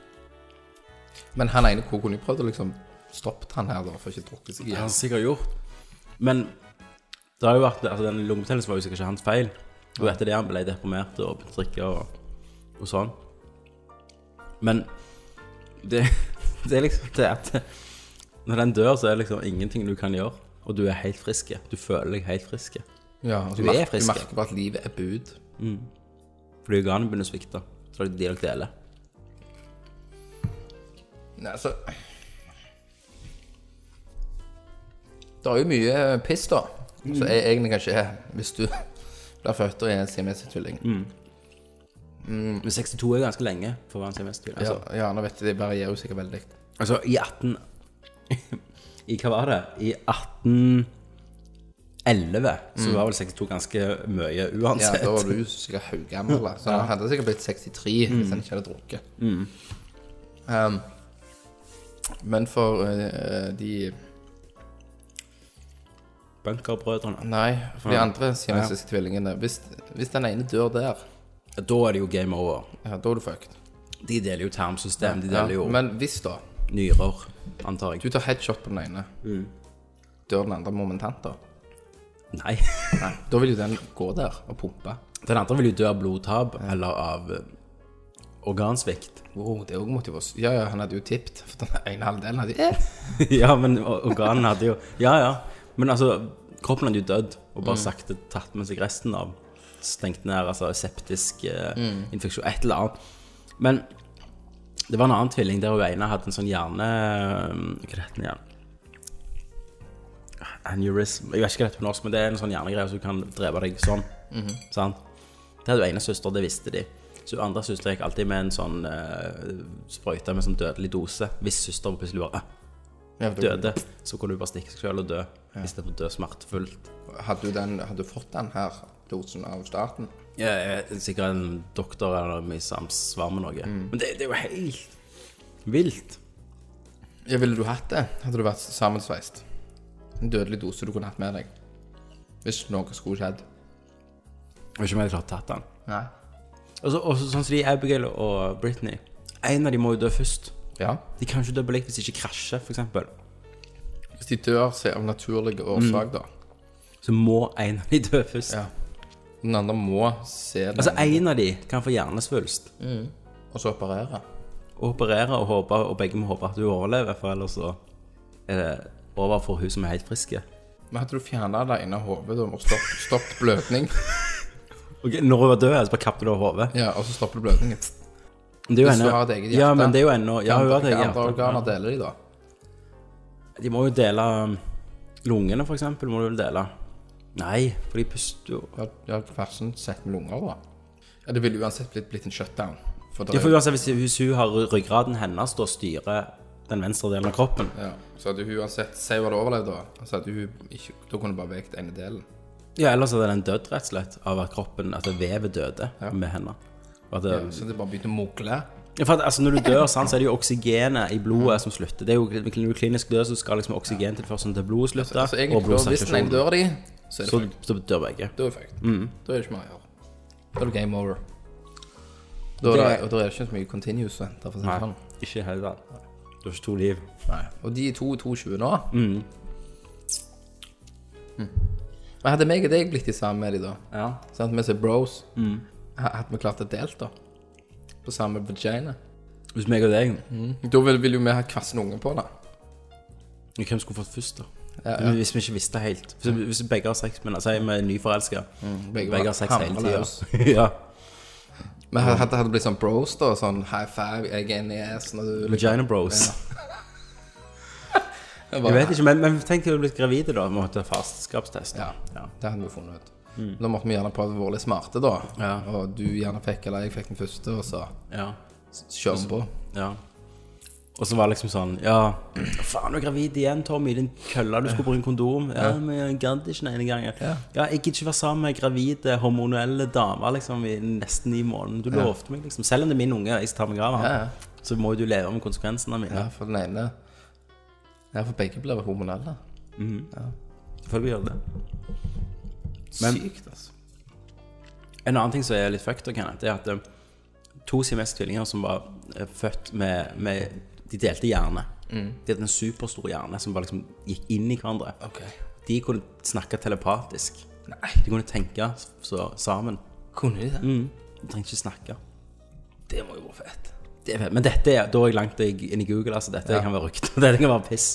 Men han ene hvor kunne jo prøvd å liksom stoppe han her, da, for ikke å drukke
Det
seg
har
igjen.
han sikkert gjort. Men det har jo vært, altså, den lungebetennelsen var jo sikkert ikke hans feil. Og etter det han ble deprimert og begynte å drikke og, og sånn. Men det, det er liksom det at når den dør, så er det liksom ingenting du kan gjøre. Og du er helt frisk. Du føler deg helt frisk.
Ja, og så
Du er
merker,
frisk.
du merker bare at livet er bud.
Fordi organene begynner å svikte. Så det er de dere deler.
Nei, altså Det er jo mye piss, da. Som jeg egentlig kan skje hvis du blir født og er en siamese-tvilling.
Men 62 er ganske lenge for å være en semester.
Ja,
Altså,
ja, nå vet jeg, det varierer jo sikkert veldig.
altså, i 18 I hva var det? I 18 11, så var vel 62 ganske mye
Mm. Ja,
uansett.
da var du sikkert haugammel. da. Så han hadde sikkert blitt 63 hvis han ikke hadde drukket. Um, men for eh, de
Bunkerbrødrene.
Nei, for de andre siamesiske tvillingene hvis, hvis den ene dør der,
Da er det jo game over.
ja, da er du fucked.
De deler jo tarmsystem, de
Ja,
deler jo
men hvis da
nyrer, antar jeg.
du tar headshot på den ene,
Mm.
dør den andre momentant da?
Nei.
Nei. Da vil jo den gå der og pumpe.
Den andre vil jo dø av blodtap eller av eh, organsvikt.
Wow, det er også motivas- Ja, ja, han hadde jo tippet, for den ene halvdelen hadde eh.
ja, men or- organene hadde jo Ja, ja. Men altså, kroppen hadde jo dødd, og bare sakte tatt med seg resten av Stengt ned, altså septisk eh, infeksjon, et eller annet. Men det var en annen tvilling der hun ene hadde en sånn hjerne... Hva heter den igjen? Aneurysm Jeg vet ikke hva det heter på norsk, men det er en sånn hjernegreie som kan drepe deg sånn. Sant? Det hadde jo ene søster, det visste de. Så andre søster gikk alltid med en sånn uh, sprøyte med en sånn dødelig dose. Hvis søster plutselig bare «Ah,
Ja, for da-
døde, så kunne du bare stikke seg selv og dø, istedenfor å dø smertefullt.
Hadde du, den, hadde du fått den her dosen av staten?
Ja, jeg er sikkert en doktor eller mye samsvar med noe. Men det, det er jo helt vilt.
Ja, ville du hatt det? Hadde du vært sammensveist? En dødelig dose du kunne hatt med deg? Hvis noe skulle skjedd?
Jeg vet ikke om jeg hadde klart å tatt den.
Nei.
Og så, og så- sånn som de Abigail og Britney. En av dem må jo dø først.
Ja.
De kan jo ikke dø på likt hvis de ikke krasjer, f.eks.
Hvis de dør se, av naturlige
Mm.
årsak, da.
Så må en av de dø først.
Ja. Den andre må se den,
Altså, Mm. en av de kan få hjernesvulst.
og så operere.
Og operere og håpe, og begge må håpe at hun overlever, for ellers så er det over for hun som er helt friske.
Men hadde du fjerna det ene hodet da, og stopp, stoppet blødning?
Ok, når hun var død, så bare kappet hun over hodet.
Ja, og så stopper blødningen.
Men Det er jo
Hvis
ennå-
hun har et eget
Ja,
hjerte.
men det er jo ennå Ja, hun har et
Hvilke
eget
andre organer
hjerte.
deler de, da?
De må jo dele um, Lungene, for eksempel, må du vel dele. Nei, for de puster jo
Ja, ja Fersen sett med lunger, da. Ja, det ville uansett blitt, blitt en shutdown. For det
Ja, for
er-
uansett, hvis, hvis hun har ryggraden hennes til å styre den venstre delen av kroppen
Ja, så hadde hun uansett Si hun hadde overlevd, da. Så hadde hun ikke Da kunne hun bare vekt ene delen.
Ja, ellers hadde den dødd, rett og slett, av at kroppen At vevet døde med henne. Og at det,
Så det bare begynte å mugle.
Ja, for at, altså, når du dør, sant, så er det jo oksygenet i blodet som slutter. Det er jo, når du klinisk dør, så skal liksom oksygentilførselen til blodet slutte.
Altså
og
egentlig, da, hvis den ene
blodsirkulasjonen.
dør de, så er det
Så, Mm.
fucked.
så dør begge.
Da er det fucked. Da er det ikke mer å gjøre. Da er det game over. Da er det,
Det-
og da er det ikke så mye continuous å hente, for å si det
Nei,
sånn.
ikke i hele tatt. Du har ikke to liv.
Nei. Og de er 2-22 nå. Mm. Men hadde meg og deg blitt i sammen med de, da?
Ja.
Sant, vi er bros. Ha- Hadde vi klart å delt, da? På samme vagina?
Hvis meg og deg
Mm. Da ville ville jo vi ha kvassen unge på det.
Hvem skulle fått først, da? Mm.
Ja, ja.
Hvis vi ikke visste helt. Hvis, hvis begge har sex, men altså, vi er nyforelska.
begge
Mm, begge,
var
har sex hele
hammerløs.
tida. ja.
Men hadde hadde det blitt sånn bros, da? Sånn high five, jeg er inni assen og du
Vagina bros. Jeg
Jeg bare-
vet ikke, men, men tenk deg å bli gravid, da. Måtte ha farskapstest.
Ja, det hadde vi funnet ut. Da måtte vi gjerne prøve å være litt smarte, da.
Ja.
Og du gjerne fikk, eller jeg fikk den første, og så
ja.
kjører vi på.
Ja. Og så var det liksom sånn Ja, faen, du er gravid igjen, Tommy. Din kølle, du skulle bruke kondom. Ja, men jeg gadd ikke den ene gangen. Ja. jeg gidder ikke være sammen med gravide, hormonelle damer liksom i nesten ni måneder. Du lovte meg, liksom. Selv om det er min unge, jeg tar meg av
Ja,
han,
ja.
så må jo du leve med konsekvensene mine.
ja, for den ene Ja, for begge blir hormonelle.
Selvfølgelig gjør det det.
Sykt, altså.
En annen ting som er litt fucked, Kenneth, det er at eh, to siamesiske tvillinger som var eh, født med, med De delte hjerne. De hadde en superstor hjerne som bare liksom gikk inn i hverandre.
Ok.
De kunne snakke telepatisk.
Nei,
De kunne tenke så, sammen.
kunne de det?
De trengte ikke snakke.
Det må jo være fett.
Det er, men dette er, da er jeg langt i- inn i Google. altså Dette kan være rykte, dette kan være piss.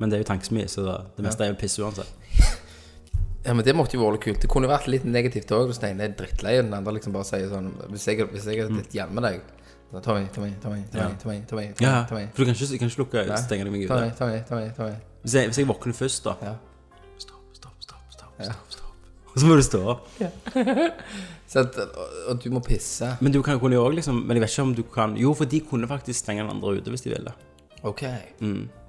Men det er jo tankesmie, så det meste er jo piss uansett.
Ja, men Det måtte jo være litt kult. Det kunne jo vært litt negativt òg hvis den ene er drittlei og den andre liksom bare sier sånn Hvis jeg, hvis jeg hadde blitt hjemme med deg så, Ta meg, ta meg, ta meg, ta meg, ta meg, ta meg, ta
Mm. Ja,
meg, ta meg.
For du kan ikke, jeg kan ikke lukke øynene og stenge deg meg
Ta
ute.
meg, ta meg, ta meg, ta meg.
Hvis jeg, hvis jeg våkner først, da
Ja.
Stopp, stopp, stopp. stopp, stopp, stopp. Og så må du stå opp.
Så at, og, og du må pisse.
Men du kan, kunne jo også liksom Men jeg vet ikke om du kan Jo, for de kunne faktisk stenge den andre ute hvis de ville.
Å OK.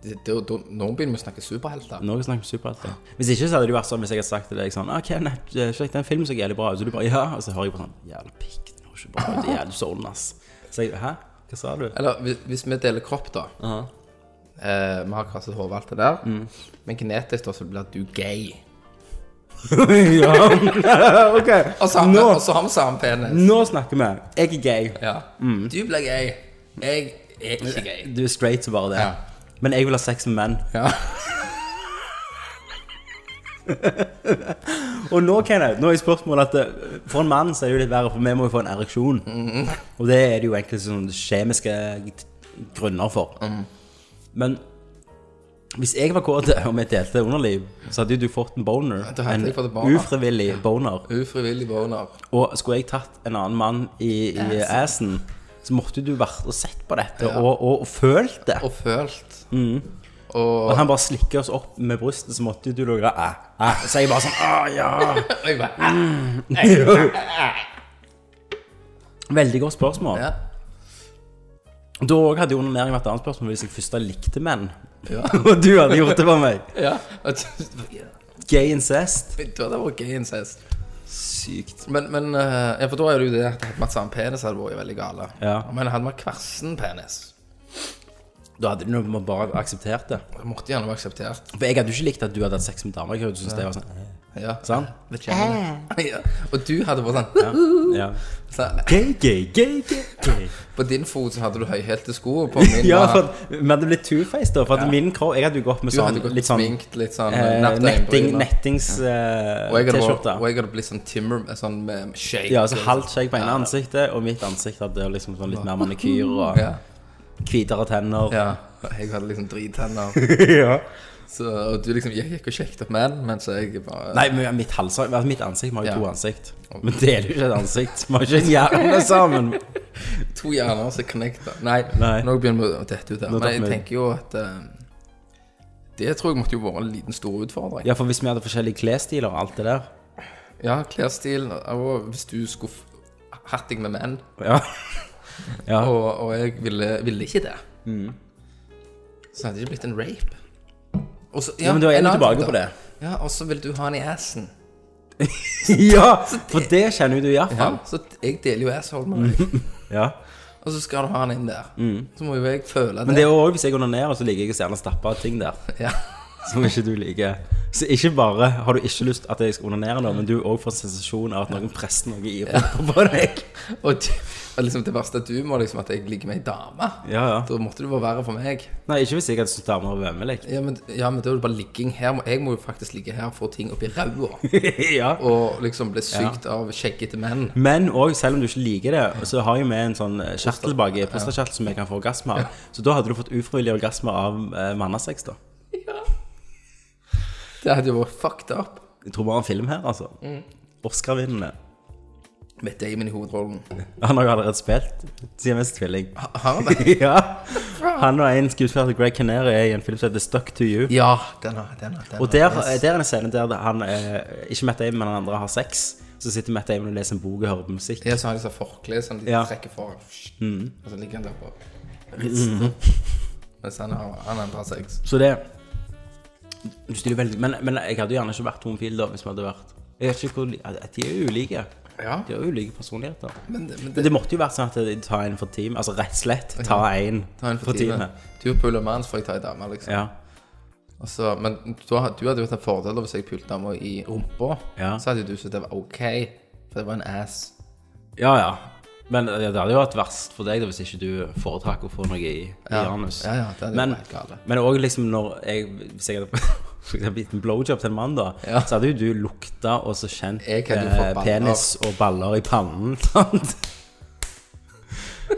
Det, det, da- nå begynner vi å snakke superhelter.
Nå snakker vi superhelter. Hvis ikke så hadde det jo vært sånn hvis jeg hadde sagt til deg sånn ah, Kenneth, sjekk den filmen så jævlig bra ut. Så du bare ja. Og så hører jeg på sånn Jævla pikk, den var ikke bra ut. Jævlig sånn, ass. Så jeg Hæ? Hva sa du?
Eller hvis, hvis vi deler kropp, da. eh, vi har krasset hode og alt det der.
Mm.
Men genetisk da, så blir du gay.
ja. ok.
Og så har, vi, og så har vi samme penis.
Nå snakker vi. Jeg er gay.
Ja.
Mm.
Du blir gay. Jeg er ikke gay.
Du er straight, så bare det.
Ja.
Men jeg vil ha sex med menn.
Ja.
Og nå, Kenneth, nå er spørsmålet at eh, for en mann så er det jo litt verre, for vi må jo få en ereksjon. Og det er det jo egentlig sånne kjemiske t- grunner for.
Mm.
Men hvis jeg var kåt og vi delte underliv, så hadde jo du fått en boner.
Da hadde jeg fått en boner.
ufrivillig boner.
Ufrivillig boner.
Og skulle jeg tatt en annen mann i, i assen, så måtte du vært og sett på dette og, og, og følt det.
Og følt.
Mm. Og
Og
han bare slikker oss opp med brystet, så måtte du logre æ, æ. Så jeg bare sånn Å, ja.
jeg bare,
Veldig godt spørsmål.
ja.
Da òg hadde jo onanering vært et annet spørsmål hvis jeg først da likte menn.
Ja.
Og du hadde gjort det for meg.
ja. Og du-
Gay incest.
Du hadde vært gay incest.
Sykt.
Men, men eh, ja, for da er det jo det at hadde man samme penis, hadde vært veldig gale.
Ja.
Men hadde man kversen penis,
Da hadde du nå bare akseptert det.
så måtte gjerne vært akseptert.
For jeg hadde jo ikke likt at du hadde hatt sex med damer. Jeg hadde syntes det var sånn eh,
Ja.
Sant?
Det kjenner jeg. Ja. Og du hadde vært sånn,
Ja.
sånn
Gay, gay, gay, gay. gay.
På din fot så hadde du høyhælte sko, og på min
Ja,
var-
for at- vi hadde blitt two-faced, da. For at min kropp Jeg hadde jo gått med
Du hadde
sånn
gått
litt sånn
sminkt, litt sånn
eh,
nappet
netting, eh,
øyenbryner. Og jeg hadde vært-
nettings-T-skjorte.
og jeg hadde blitt sånn timmer, sånn med shake.
ja, altså halvt skjegg på ene ansiktet, og mitt ansikt hadde liksom sånn litt mer manikyr og
Ja,
hvitere tenner.
ja. Og Jeg hadde liksom drittenner.
ja.
Så, og du liksom jeg gikk og sjekket opp menn, mens jeg bare
Nei, men mitt, hals, altså, mitt ansikt Vi har jo
Ja.
to ansikt. Men det er jo ikke et ansikt. Vi har ikke en hjerne sammen.
To hjerner som connecta. Nei,
Nei.
nå begynner vi å dette ut her.
Nå
Men jeg
tar vi-
tenker jo at eh, Det tror jeg måtte jo være en liten stor utfordring.
Ja, for hvis vi hadde forskjellige klesstiler og alt det der
Ja, klesstil og Hvis du skulle f- hatt deg med menn,
Ja. ja. Mm.
og, og jeg ville, ville ikke det Så hadde det ikke blitt en rape. Og så-
ja, men da er
en
vi
annen
tilbake
ting da.
på det.
Ja, og så vil du ha den i assen.
Ja, for det kjenner jo du iallfall.
Ja, så jeg deler jo asshole med deg.
Ja.
og så skal du ha den inn der. Så må jo jeg føle det.
Mm. Men det er jo også, hvis jeg onanerer, så liker jeg å gjerne stappe ting der.
Ja.
Som ikke du liker. Så ikke bare har du ikke lyst at jeg skal onanere nå, men du òg får en sensasjon av at noen presser noe i rumpa på deg.
Og, du- og liksom det verste at du må liksom at jeg ligger med ei dame.
Ja, ja.
Da måtte det være verre for meg.
Nei, ikke hvis jeg hadde syntes damer var vemmelig.
Ja men, ja, men da er det bare ligging her. Må- Jeg må jo faktisk ligge her og få ting oppi ræva.
ja.
Og liksom bli sykt av skjeggete menn.
Men òg, selv om du ikke liker det, så har jo vi en sånn eh, kjertel baki, prostatkjertel, som jeg kan få orgasme av. Så da hadde du fått ufrivillig orgasme av eh, mannesex, da.
Det hadde jo vært fucked up
Jeg tror bare en film her, altså.
Mm.
Oscar-vinnende.
med Damon i hovedrollen.
Han har jo allerede spilt CMS Tvilling.
Har han det?
ja. Han og en skuespiller til Greg Canary er i en film som heter Stuck to You.
Ja, den har den. har- den
Og
har-
der, eh, der er en scene der han, eh, ikke Matt Damon, men han andre har sex. Så sitter Matt Damon og leser en bok og hører på musikk.
Ja, så har de sånn forkle som de
Ja. Mm.
trekker fra. Og så ligger han der på Mens han har han endrer seg.
Så det du stiller veldig, men, men jeg hadde jo gjerne ikke vært homofil da, hvis vi hadde vært Jeg vet ikke hvor li- ja, De er jo ulike.
Ja.
De har jo ulike personligheter. Men,
Men, det- men
det måtte jo vært sånn at de tar en for team. Altså rett og slett ta en
Ta en for time. Du puler mann, så får jeg ta ei dame, liksom.
Ja.
Og så- men du, har- du hadde jo hatt en fordel da hvis jeg pulte dama i rumpa.
Ja.
Så hadde jo du syntes det var OK, for det var en ass.
ja, ja. Men ja, det hadde jo vært verst for deg da, hvis ikke du foretrakk å få noe i, i
Ja.
anus.
Ja, ja, det hadde
men,
vært helt gale.
men også liksom når jeg Hvis jeg hadde for eksempel gitt en blowjob til en mann, da,
Ja.
så hadde jo du lukta og så kjent eh,
Jeg hadde jo fått baller.
penis og baller i pannen. Sant?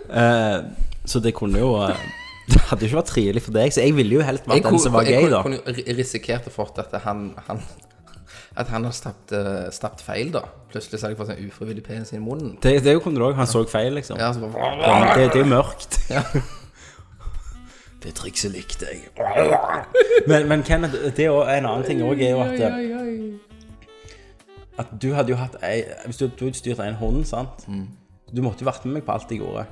Eh, så det kunne jo eh, Det hadde jo ikke vært trivelig for deg, så jeg ville jo helt vært den som var
jeg
gay,
kunne-
da.
kunne jo ri- risikert å fått at han, han At han har stappet, eh, stappet feil, da. Plutselig så hadde jeg fått en ufrivillig penis i munnen.
Det, det kunne du òg. Han så feil, liksom.
Ja, så bare
Det, det, det er jo mørkt.
Ja.
Det trikset likte jeg. Men, men Kenneth, det er jo en annen ting òg er jo at eh, At du hadde jo
Mm.
hatt ei Hvis du hadde styrt en hund, sant Du måtte jo vært med meg på alt jeg gjorde.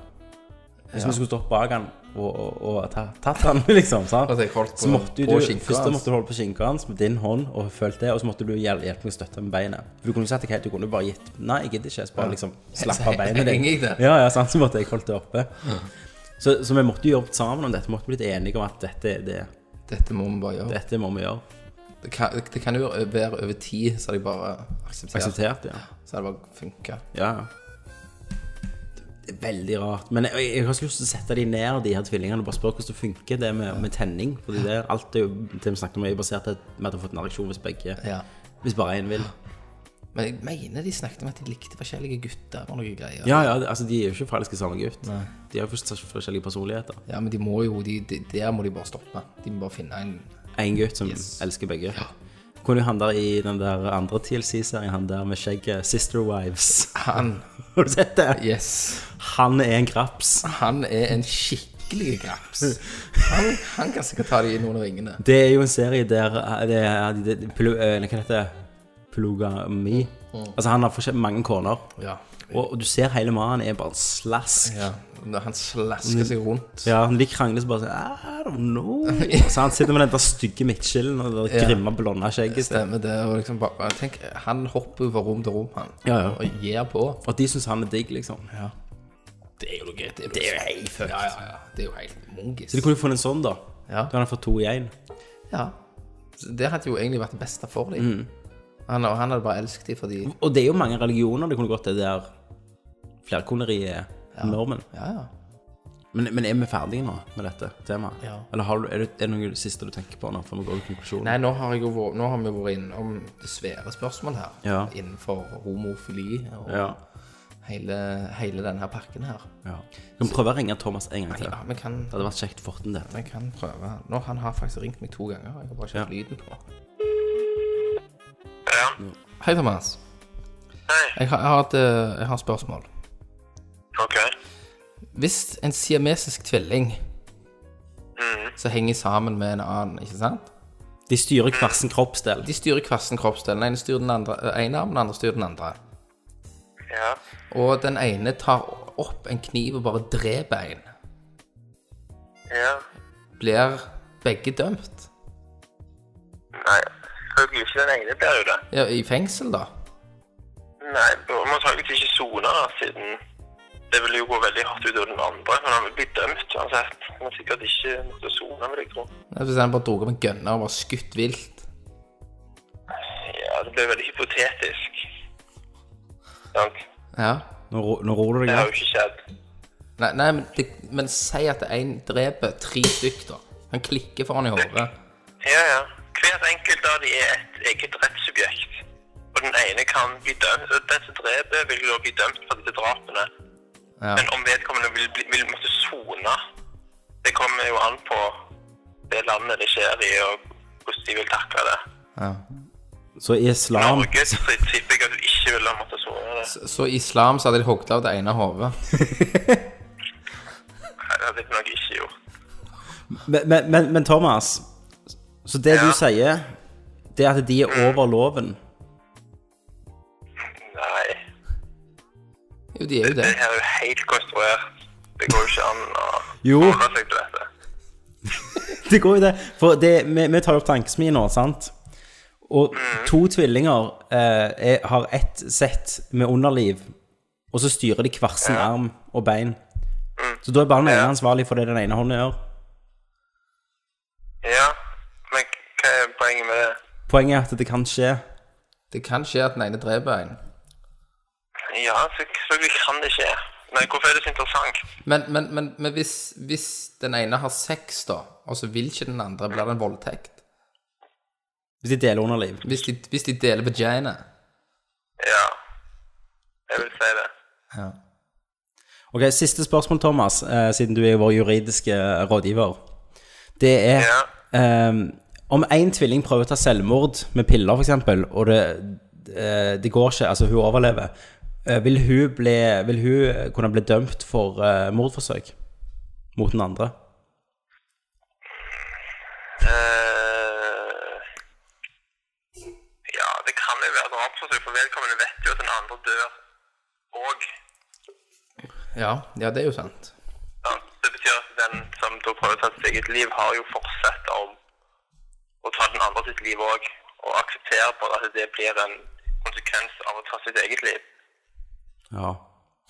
Hvis vi skulle stått bak han og, og, og ta, tatt han, liksom, sant?
At Altså, jeg holdt på-
så måtte jo
på
du,
skinka altså.
først
hans.
måtte du holde på skinka hans med din hånd og følt det, og så måtte du hjel- hjelpe meg å støtte med beinet. For du kunne jo sagt helt, du kunne jo bare gitt Nei, jeg gidder ikke. Så bare liksom slapp av
Så
beinet
henger jeg der.
Ja, ja, sant? Så måtte jeg holdt det oppe. Så, så vi måtte jo jobbe sammen om dette. Vi måtte bli litt enige om at dette, det,
Dette må vi bare gjøre.
dette må vi gjøre.
Det kan, det kan jo være over tid, så hadde jeg bare akseptert.
Akseptert, ja.
Så hadde det bare funka.
Ja. Det er veldig rart. Men jeg, jeg har så lyst til å sette de ned, de her tvillingene, og bare spørre hvordan det funker, det med, med tenning. Fordi det, er- alt er jo, det vi snakket om, er jo basert på at vi hadde fått en reaksjon hvis begge
Ja.
Hvis bare én vil.
Men jeg mener de snakket om at de likte forskjellige gutter og noe greier.
Ja, ja, det- altså De er jo ikke forelska i samme gutt. De har jo forst- forskjellige personligheter.
Ja, men de må jo, de, de, der må de bare stoppe. De må bare finne en
Én gutt som elsker begge. Kunne jo han der i den der andre TLC-serien, han der med skjegget, Sister Wives
Han,
Har du sett det?
yes,
Han er en graps.
han er en skikkelig graps. Han, han kan sikkert ta de inn under vingene.
Det er jo en serie der eh, det, er- det, det, plo, eh, Hva heter det? Polygami.
Mm.
Altså, han har forskjell- mange koner.
Ja.
Og, og du ser hele mannen er bare en slask.
ja. Når han slasker seg rundt.
Ja, når de krangler, så bare sånn I don't know. Så han sitter med den der stygge midtskillen og det der grimme, blonde skjegget. sitt.
Stemmer det. Og liksom bare, tenk, han hopper jo fra rom til rom, han.
Ja, ja.
Og gir på.
Og de syns han er digg, liksom.
Det er jo noe greit. Det er jo helt fucked. Ja, ja, ja. Det er jo helt mongis.
Så de kunne jo funnet en sånn, da.
Ja.
Da hadde han fått to i én.
Ja. Så Det hadde jo egentlig vært det beste for dem. Han, og han hadde bare elsket dem fordi
Og det er jo mange religioner det kunne gått til der flerkoneri er normen.
Ja, ja.
Men, men er vi ferdige nå med dette temaet?
Ja.
Eller har du, er, det, er det noe siste du tenker på nå, før vi går til konklusjonen?
Nei, nå har, jeg jo vært, nå har vi jo vært innom det svære spørsmålet her.
Ja.
Innenfor homofili og
Ja.
hele, hele denne pakken her.
ja. Kan vi prøve å ringe Thomas en gang til?
Ja, vi kan,
Det hadde vært kjekt å få til dette.
vi kan prøve. Nå, han har faktisk ringt meg to ganger. Jeg har bare ikke hatt lyden på. Hei, Thomas.
Hei,
Jeg har, jeg, har et, eh, jeg har et spørsmål.
ok.
Hvis en siamesisk tvilling
Mm,
som henger sammen med en annen, ikke sant?
De styrer hver sin kroppsdel.
De styrer hver sin kroppsdel. Den ene styrer den andre, eh, ene armen, den andre styrer den andre.
Ja.
Og den ene tar opp en kniv og bare dreper en.
Ja.
Blir begge dømt?
Nei, selvfølgelig ikke den ene blir jo det.
Ja, I fengsel, da?
Nei, man tar jo ikke sona da, siden det ville jo gå veldig hardt ut av den andre, men han vil bli dømt uansett. Han har sikkert ikke måtte sona, vil jeg tro.
Nei, Hvis han bare dro opp en gønner og bare skutt vilt?
Ja, det ble veldig hypotetisk. Sant?
Ja.
Nå, ro- nå ror du deg
Det har
ned.
jo ikke skjedd.
Nei, nei men, det, men si at én dreper tre stykk, da. Han klikker for han i hodet.
Ja, ja. Hvert enkelt av de er et eget rettssubjekt. Og den ene kan bli dømt, og den som dreper vil jo da bli dømt for disse drapene.
Ja.
Men om vedkommende vil, bli- vil måtte sone, det kommer jo an på det landet det skjer i, og hvordan de vil takle det.
Ja.
Så i islam
Norge så tipper jeg at du ikke vil ha måttet sone det.
Så, så i islam så hadde de hogd av det ene hodet.
Nei, Det hadde jeg nok ikke gjort.
Men, men, men, men Thomas, så det du sier, det er at de er over loven.
Nei,
Jo, de er jo det.
det her er jo helt konstruert. Det går jo ikke an å
Jo.
forholde seg til dette.
Det går jo det. For det, vi, vi tar jo opp tankesmien nå, sant? Og to tvillinger eh, er, har ett sett med underliv, og så styrer de hver sin arm og bein. Så da er bare den ene ansvarlig for det den ene hånden gjør.
Ja, men hva er poenget med det?
Poenget er at det kan skje.
Det kan skje at den ene dreper en.
Ja, selvfølgelig kan det skje. Men hvorfor er det så interessant?
Men, men, men, men hvis, hvis den ene har sex, da, og så vil ikke den andre, blir det en voldtekt?
Hvis de deler underliv.
Hvis de, hvis de deler vagina?
Ja, jeg vil si det.
Ja.
Ok, Siste spørsmål, Thomas, eh, siden du er vår juridiske rådgiver. Det er
Ja.
eh, Om én tvilling prøver å ta selvmord med piller, f.eks., og det, eh, det går ikke, altså hun overlever, eh, vil, hun bli, vil hun kunne bli dømt for eh, mordforsøk mot den andre?
Eh, ja, det kan jo være drapsforsøk, for vedkommende vet jo at den andre dør òg.
Ja, ja, det er jo sant.
sant? samt å prøve å ta sitt eget liv, har jo forsett om å ta den andre sitt liv òg. Og akseptere bare at det blir en konsekvens av å ta sitt eget liv.
Ja.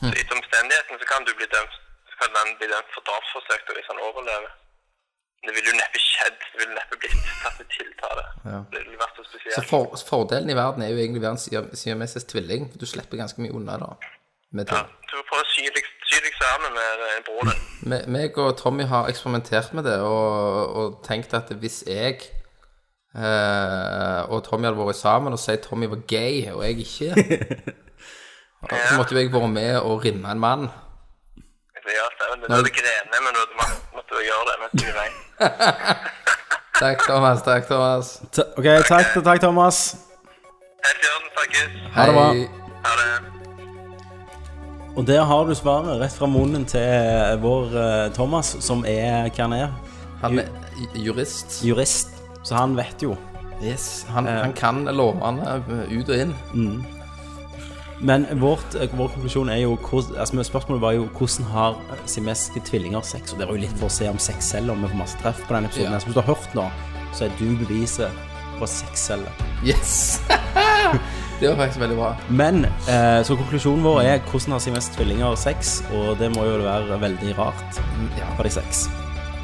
Så
Hm.
etter omstendighetene så kan du bli dømt så kan den bli dømt for drapsforsøk da, hvis han overlever. Men Det ville jo neppe skjedd. Det ville neppe blitt tatt til tiltale.
Ja.
Det ville vært så
Så
spesielt.
for, fordelen i verden er jo egentlig å være en siam- siamesisk tvilling. for Du slipper ganske mye unna da. Med ting.
Ja, så prøv å sy deg sy deg sammen med eh, broren din.
Me- meg og Tommy har eksperimentert med det og, og tenkt at hvis jeg eh, og Tommy hadde vært sammen og sier Tommy var gay og jeg ikke, så måtte jo jeg vært med og rimme en mann.
Så ja, stemmer. Du hadde grenet, men du hadde måtte- måtte gjøre det mens du var veien.
Takk, Thomas. Takk, Thomas.
Ta, ok, takk, takk, Thomas.
Helt i orden. Takkes.
det bra.
Ha det.
Og der har du svaret rett fra munnen til vår eh, Thomas, som er hva han er?
Han er ju- jurist.
Jurist. Så han vet jo.
Yes. Han, han kan lovene eh, ut og inn.
Men vårt, eh, vår konklusjon er jo hvor- altså, men Spørsmålet var jo hvordan har siamesiske tvillinger sex? Og det er jo litt for å se om sex selger, om vi får masse treff på denne episoden.
Ja.
Men som du har hørt nå, så er du beviset på at sex selger.
Yes! det var faktisk veldig bra.
Men eh, så konklusjonen vår er hvordan har siamesiske tvillinger sex? Og det må jo være veldig rart
Mm, Ja,
for de seks.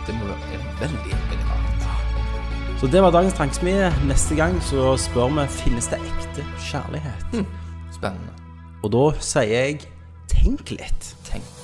det må være veldig, veldig rart.
Så det var dagens tankesmie. Neste gang så spør vi finnes det ekte kjærlighet.
Spennende.
Og da sier jeg tenk litt.
Tenk.